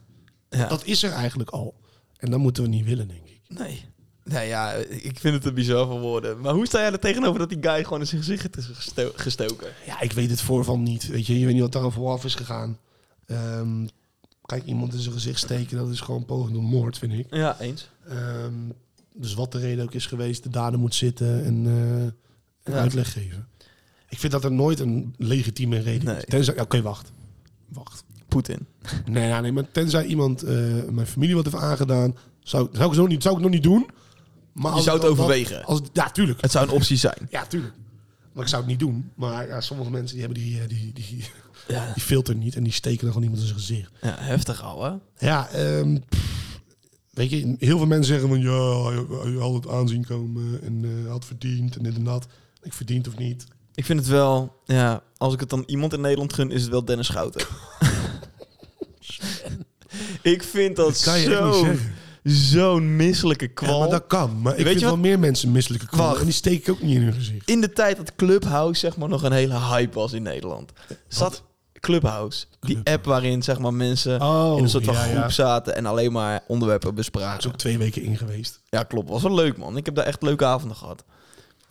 B: Ja.
C: Dat is er eigenlijk al. En dat moeten we niet willen, denk ik.
B: Nee. Nou ja, ik vind het te bizar voor woorden. Maar hoe sta jij er tegenover dat die guy gewoon in zijn gezicht is gesto- gestoken?
C: Ja, ik weet het voorval niet. Weet je, je weet niet wat daar aan vooraf is gegaan. Ehm, kijk, iemand in zijn gezicht steken, dat is gewoon poging tot moord, vind ik.
B: Ja, eens.
C: Ehm, dus wat de reden ook is geweest, de dader moet zitten en eh,
B: Ja.
C: een uitleg geven. Ik vind dat er nooit een legitieme reden
B: Nee.
C: is. Tenzij, oké, wacht. Wacht.
B: Poetin.
C: Nee, ja, nee, maar tenzij iemand eh, mijn familie wat heeft aangedaan, zou, zou, ik, zo niet, zou ik nog niet doen. Maar als
B: zou het
C: dat-
B: overwegen.
C: Als, ja, tuurlijk.
B: Het zou een optie zijn.
C: Ja, tuurlijk. Maar ik zou het niet doen. Maar ja, sommige mensen die hebben die, eh, die, die,
B: Ja,
C: die filter niet en die steken dan gewoon iemand in zijn gezicht.
B: heftig ouwe.
C: Ja, ehm, pff, weet je, heel veel mensen zeggen van ja, hij- hij had het aanzien komen en eh, had verdiend en dit en dat. Ik verdiend of niet.
B: Ik vind het wel, ja, als ik het dan iemand in Nederland gun, is het wel Dennis Schouten. ik vind dat,
C: Dat kan je echt niet
B: zo'n
C: zeggen.
B: zo'n misselijke
C: Ja,
B: kwal.
C: maar dat kan. Maar ik
B: Weet
C: vind
B: je wat-
C: wel meer mensen misselijke kwal.
B: Wacht.
C: En die steken ook niet in hun gezicht.
B: In de tijd dat Clubhouse zeg maar nog een hele hype was in Nederland, zat Clubhouse, die
C: Clubhouse.
B: app waarin zeg maar mensen
C: Oh,
B: in een soort van
C: ja,
B: groep
C: ja.
B: zaten en alleen maar onderwerpen
C: Daar is
B: bespraken.
C: ook twee weken in geweest.
B: Ja, klopt. Was wel leuk, man. Ik heb daar echt leuke avonden gehad.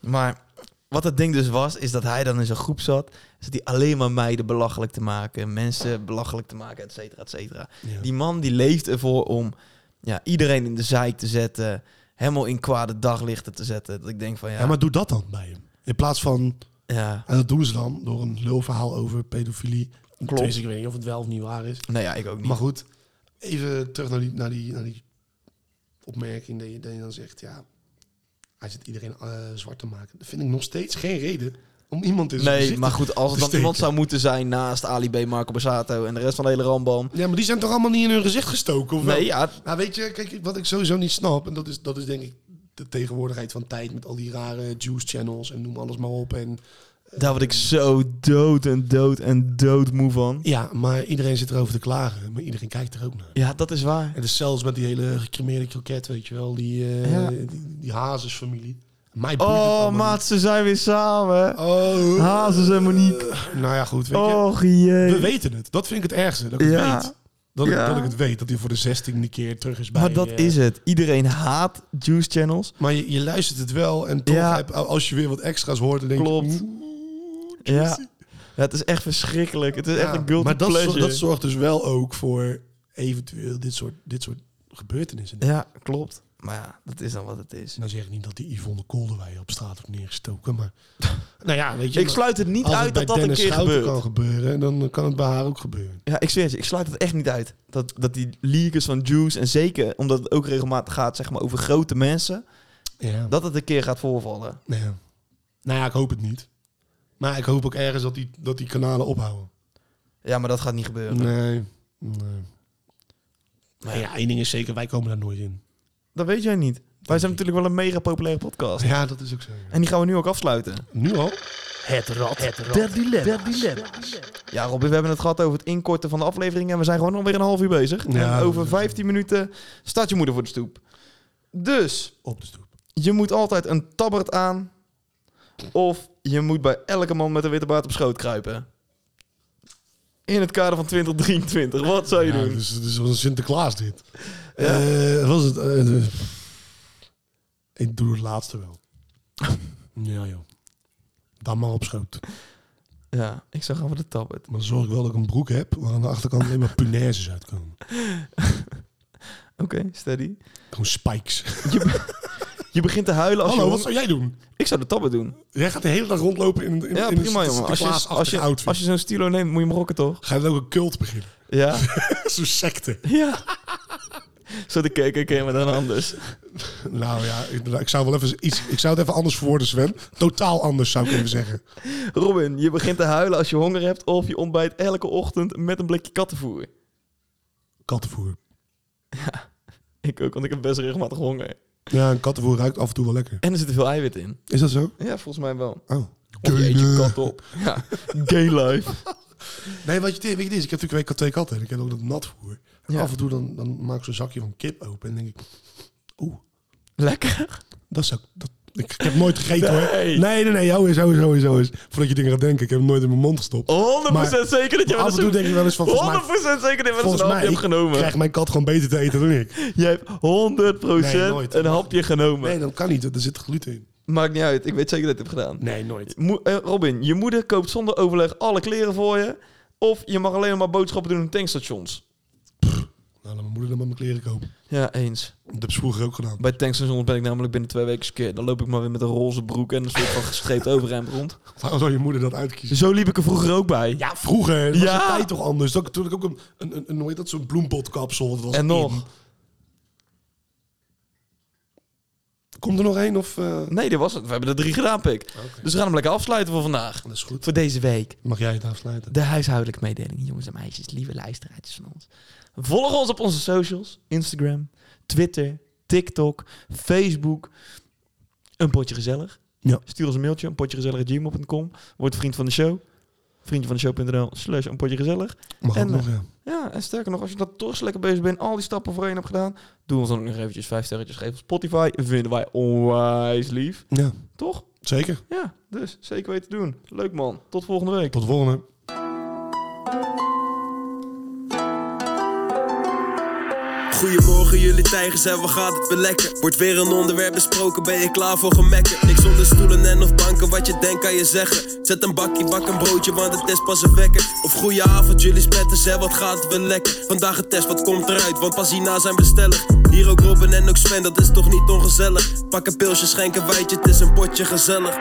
B: Maar wat het ding dus was, is dat hij dan in zo'n groep zat. Zat hij alleen maar meiden belachelijk te maken, mensen belachelijk te maken, et cetera, et cetera.
C: Ja.
B: Die man die leeft ervoor om ja, iedereen in de zeik te zetten. Helemaal in kwade daglichten te zetten. Dat ik denk van ja,
C: Ja. maar doe dat dan bij hem. In plaats van,
B: ja.
C: en dat doen ze dan door een lulverhaal over pedofilie. Tenminste, ik weet niet of het wel of niet waar is.
B: Nou ja, ik ook niet.
C: Maar goed, even terug naar die, naar die, naar die opmerking dat je, dat je dan zegt, ja, hij zit iedereen eh, zwart te maken. Dat vind ik nog steeds geen reden om iemand in zijn
B: nee,
C: gezicht
B: maar
C: te-
B: goed, als
C: te
B: het dan
C: steken.
B: iemand zou moeten zijn naast Ali B, Marco Borsato en de rest van de hele rambam.
C: Ja, maar die zijn toch allemaal niet in hun gezicht gestoken? Of wel?
B: Nee, ja,
C: Nou, weet je, kijk, wat ik sowieso niet snap, en dat is, dat is denk ik de tegenwoordigheid van tijd met al die rare juice channels en noem alles maar op. En
B: daar word ik zo dood en dood en dood moe van.
C: ja, maar iedereen zit erover te klagen, maar iedereen kijkt er ook naar.
B: Ja, dat is waar.
C: En dus zelfs met die hele gecremeerde kroket, weet je wel, die, eh,
B: Ja.
C: die, die hazesfamilie. Mij boeit het allemaal
B: Oh,
C: niet.
B: maat, ze zijn weer samen.
C: Oh.
B: Hazes en Monique.
C: Nou ja, goed, weet je.
B: Och jee.
C: We weten het. Dat vind ik het ergste, dat ik het
B: Oh, Ja.
C: weet. Dat, ik,
B: Ja.
C: dat ik het weet, dat hij voor de zestiende keer terug is bij...
B: maar dat
C: eh,
B: is het. Iedereen haat juice channels.
C: Maar je, je luistert het wel en toch,
B: Ja.
C: heb- als je weer wat extra's hoort, dan denk
B: Klopt.
C: je...
B: Ja. ja, het is echt verschrikkelijk. Het is echt
C: Ja,
B: een guilty
C: maar dat, zor-
B: pleasure.
C: dat zorgt dus wel ook voor eventueel dit soort, dit soort gebeurtenissen.
B: Ja, klopt. Maar ja, dat is dan wat het is.
C: Nou zeg ik niet dat die Yvonne Kolderwij op straat wordt neergestoken, maar... nou ja, weet je...
B: Ik
C: maar
B: sluit het niet
C: als
B: uit dat
C: bij
B: dat een
C: Dennis
B: keer
C: Schouten
B: gebeurt.
C: kan gebeuren, dan kan het bij haar ook gebeuren.
B: Ja, ik zweer het je, ik sluit het echt niet uit. Dat, dat die leakers van Juice, en zeker omdat het ook regelmatig gaat zeg maar, over grote mensen,
C: Ja.
B: dat het een keer gaat voorvallen.
C: ja. Nou ja, ik hoop het niet. Maar ik hoop ook ergens dat die, dat die kanalen ophouden.
B: Ja, maar dat gaat niet gebeuren.
C: Nee. nee. Maar ja, één ding is zeker, wij komen daar nooit in.
B: Dat weet jij niet. Wij zijn natuurlijk wel een mega populaire podcast.
C: Ja, dat is ook zo.
B: En die gaan we nu ook afsluiten.
C: Nu al?
E: Het rad, het rad der dilemma's.
B: Ja, Robin, we hebben het gehad over het inkorten van de aflevering. En we zijn gewoon alweer een half uur bezig.
C: Ja,
B: en over
C: dat-
B: 15 minuten staat je moeder voor de stoep. Dus,
C: Op de stoep.
B: je moet altijd een tabbert aan. Of je moet bij elke man met een witte baard op schoot kruipen. In het kader van 2023. Wat zou je
C: Ja,
B: doen?
C: dus het is wel een Sinterklaas dit. Eh, wat was het? Eh, eh, ik doe het laatste wel. ja joh. Dan maar op schoot.
B: Ja, ik zou gaan voor de tabbert.
C: Maar zorg wel dat ik een broek heb waar aan de achterkant alleen maar punaises uitkomen.
B: Oké, steady.
C: Gewoon spikes.
B: Je begint te huilen als
C: Hallo,
B: je...
C: wat zou jij doen?
B: Ik zou de tabbert doen.
C: Jij gaat de hele dag rondlopen in, in,
B: Ja,
C: in
B: prima
C: een
B: jongen. Als je,
C: Sinterklaas
B: als je,
C: outfit.
B: als je zo'n stilo neemt, moet je hem rocken toch?
C: Ga je dan ook een cult beginnen?
B: Ja.
C: Zo'n secte.
B: Ja. Zo de KKK, maar dan anders.
C: Nou ja, ik, ik zou wel even iets. Ik zou het even anders verwoorden, Sven. Totaal anders zou ik even zeggen.
B: Robin, je begint te huilen als je honger hebt of je ontbijt elke ochtend met een blikje kattenvoer.
C: Kattenvoer.
B: Ik ook, want ik heb best regelmatig honger.
C: Ja, een kattenvoer ruikt af en toe wel lekker.
B: En er zit veel eiwit in.
C: Is dat zo?
B: Ja, volgens mij wel.
C: Oh.
B: Of je eet je kat op. Ja, gay life.
C: Nee, wat je, weet je, dit is, ik heb natuurlijk ik had twee katten en ik heb ook dat natvoer. En
B: Ja.
C: Af en toe dan, dan maak ik zo'n zakje van kip open en denk ik, oeh,
B: Lekker.
C: dat zou dat, ik, ik heb nooit gegeten hoor.
B: Nee.
C: Nee, nee, nee, jou is, jou is, jou is, jou is. Voordat je dingen gaat denken, ik heb hem nooit in mijn mond gestopt.
B: 100%
C: Maar-
B: zeker dat je
C: maar af en toe denk ik wel eens van, volgens mij-
B: 100% zeker dat je wel eens
C: Volgens
B: een hapje
C: mij
B: hebt genomen.
C: krijgt mijn kat gewoon beter te eten dan ik.
B: Je hebt 100%
C: Nee, nooit.
B: een hapje genomen.
C: Nee, dat kan niet, er zit gluten in.
B: Maakt niet uit, ik weet zeker dat je het hebt gedaan.
C: Nee, nooit.
B: Mo- eh, Robin, je moeder koopt zonder overleg alle kleren voor je. Of je mag alleen maar boodschappen doen in tankstations.
C: Nou, laat mijn moeder dan maar mijn kleren kopen.
B: Ja, eens.
C: Dat heb ze vroeger ook gedaan.
B: Bij tankstations ben ik namelijk binnen twee weken keer. Dan loop ik maar weer met een roze broek en een soort van gestreept overhemd rond.
C: Waarom zou je moeder dat uitkiezen?
B: Zo liep ik er vroeger ook bij.
C: Ja, vroeger was
B: Dus- Ja.
C: de tijd toch anders. Dat toen ik ook een, een, een, een hoe heet dat, zo'n bloempotkapsel. dat was
B: en
C: in.
B: nog.
C: Komt er nog één of... eh,
B: Nee, dit was het. We hebben er drie gedaan, pik. Dus we gaan hem lekker afsluiten voor vandaag.
C: Dat is goed.
B: Voor deze week.
C: Mag jij het afsluiten?
B: De huishoudelijke mededeling, jongens en meisjes, lieve luisteraartjes van ons. Volg ons op onze socials: Instagram, Twitter, TikTok, Facebook. Een potje gezellig.
C: Ja.
B: Stuur ons een mailtje: een potje Word vriend van de show. Vriendje van de show.nl slash een potje gezellig.
C: Mag
B: En,
C: ook nog, ja.
B: Ja, en sterker nog, als je dat toch lekker bezig bent, al die stappen voorheen hebt gedaan, doe ons dan ook nog eventjes vijf sterretjes geven op Spotify. Vinden wij onwijs lief.
C: Ja,
B: Toch?
C: zeker.
B: Ja, dus zeker weten te doen. Leuk man. Tot volgende week.
C: Tot de volgende.
A: Goedemorgen jullie tijgers en wat gaat het weer lekker? Wordt weer een onderwerp besproken, ben je klaar voor gemekken? Niks onder stoelen en of banken, wat je denkt kan je zeggen Zet een bakje, bak een broodje, want het is pas een wekker Of goeie avond jullie spetters en wat gaat het weer lekker? Vandaag een test, wat komt eruit, want pas hierna zijn bestellig Hier ook Robin en ook Sven, dat is toch niet ongezellig? Pak een pilsje, schenk een wijtje, het is een potje gezellig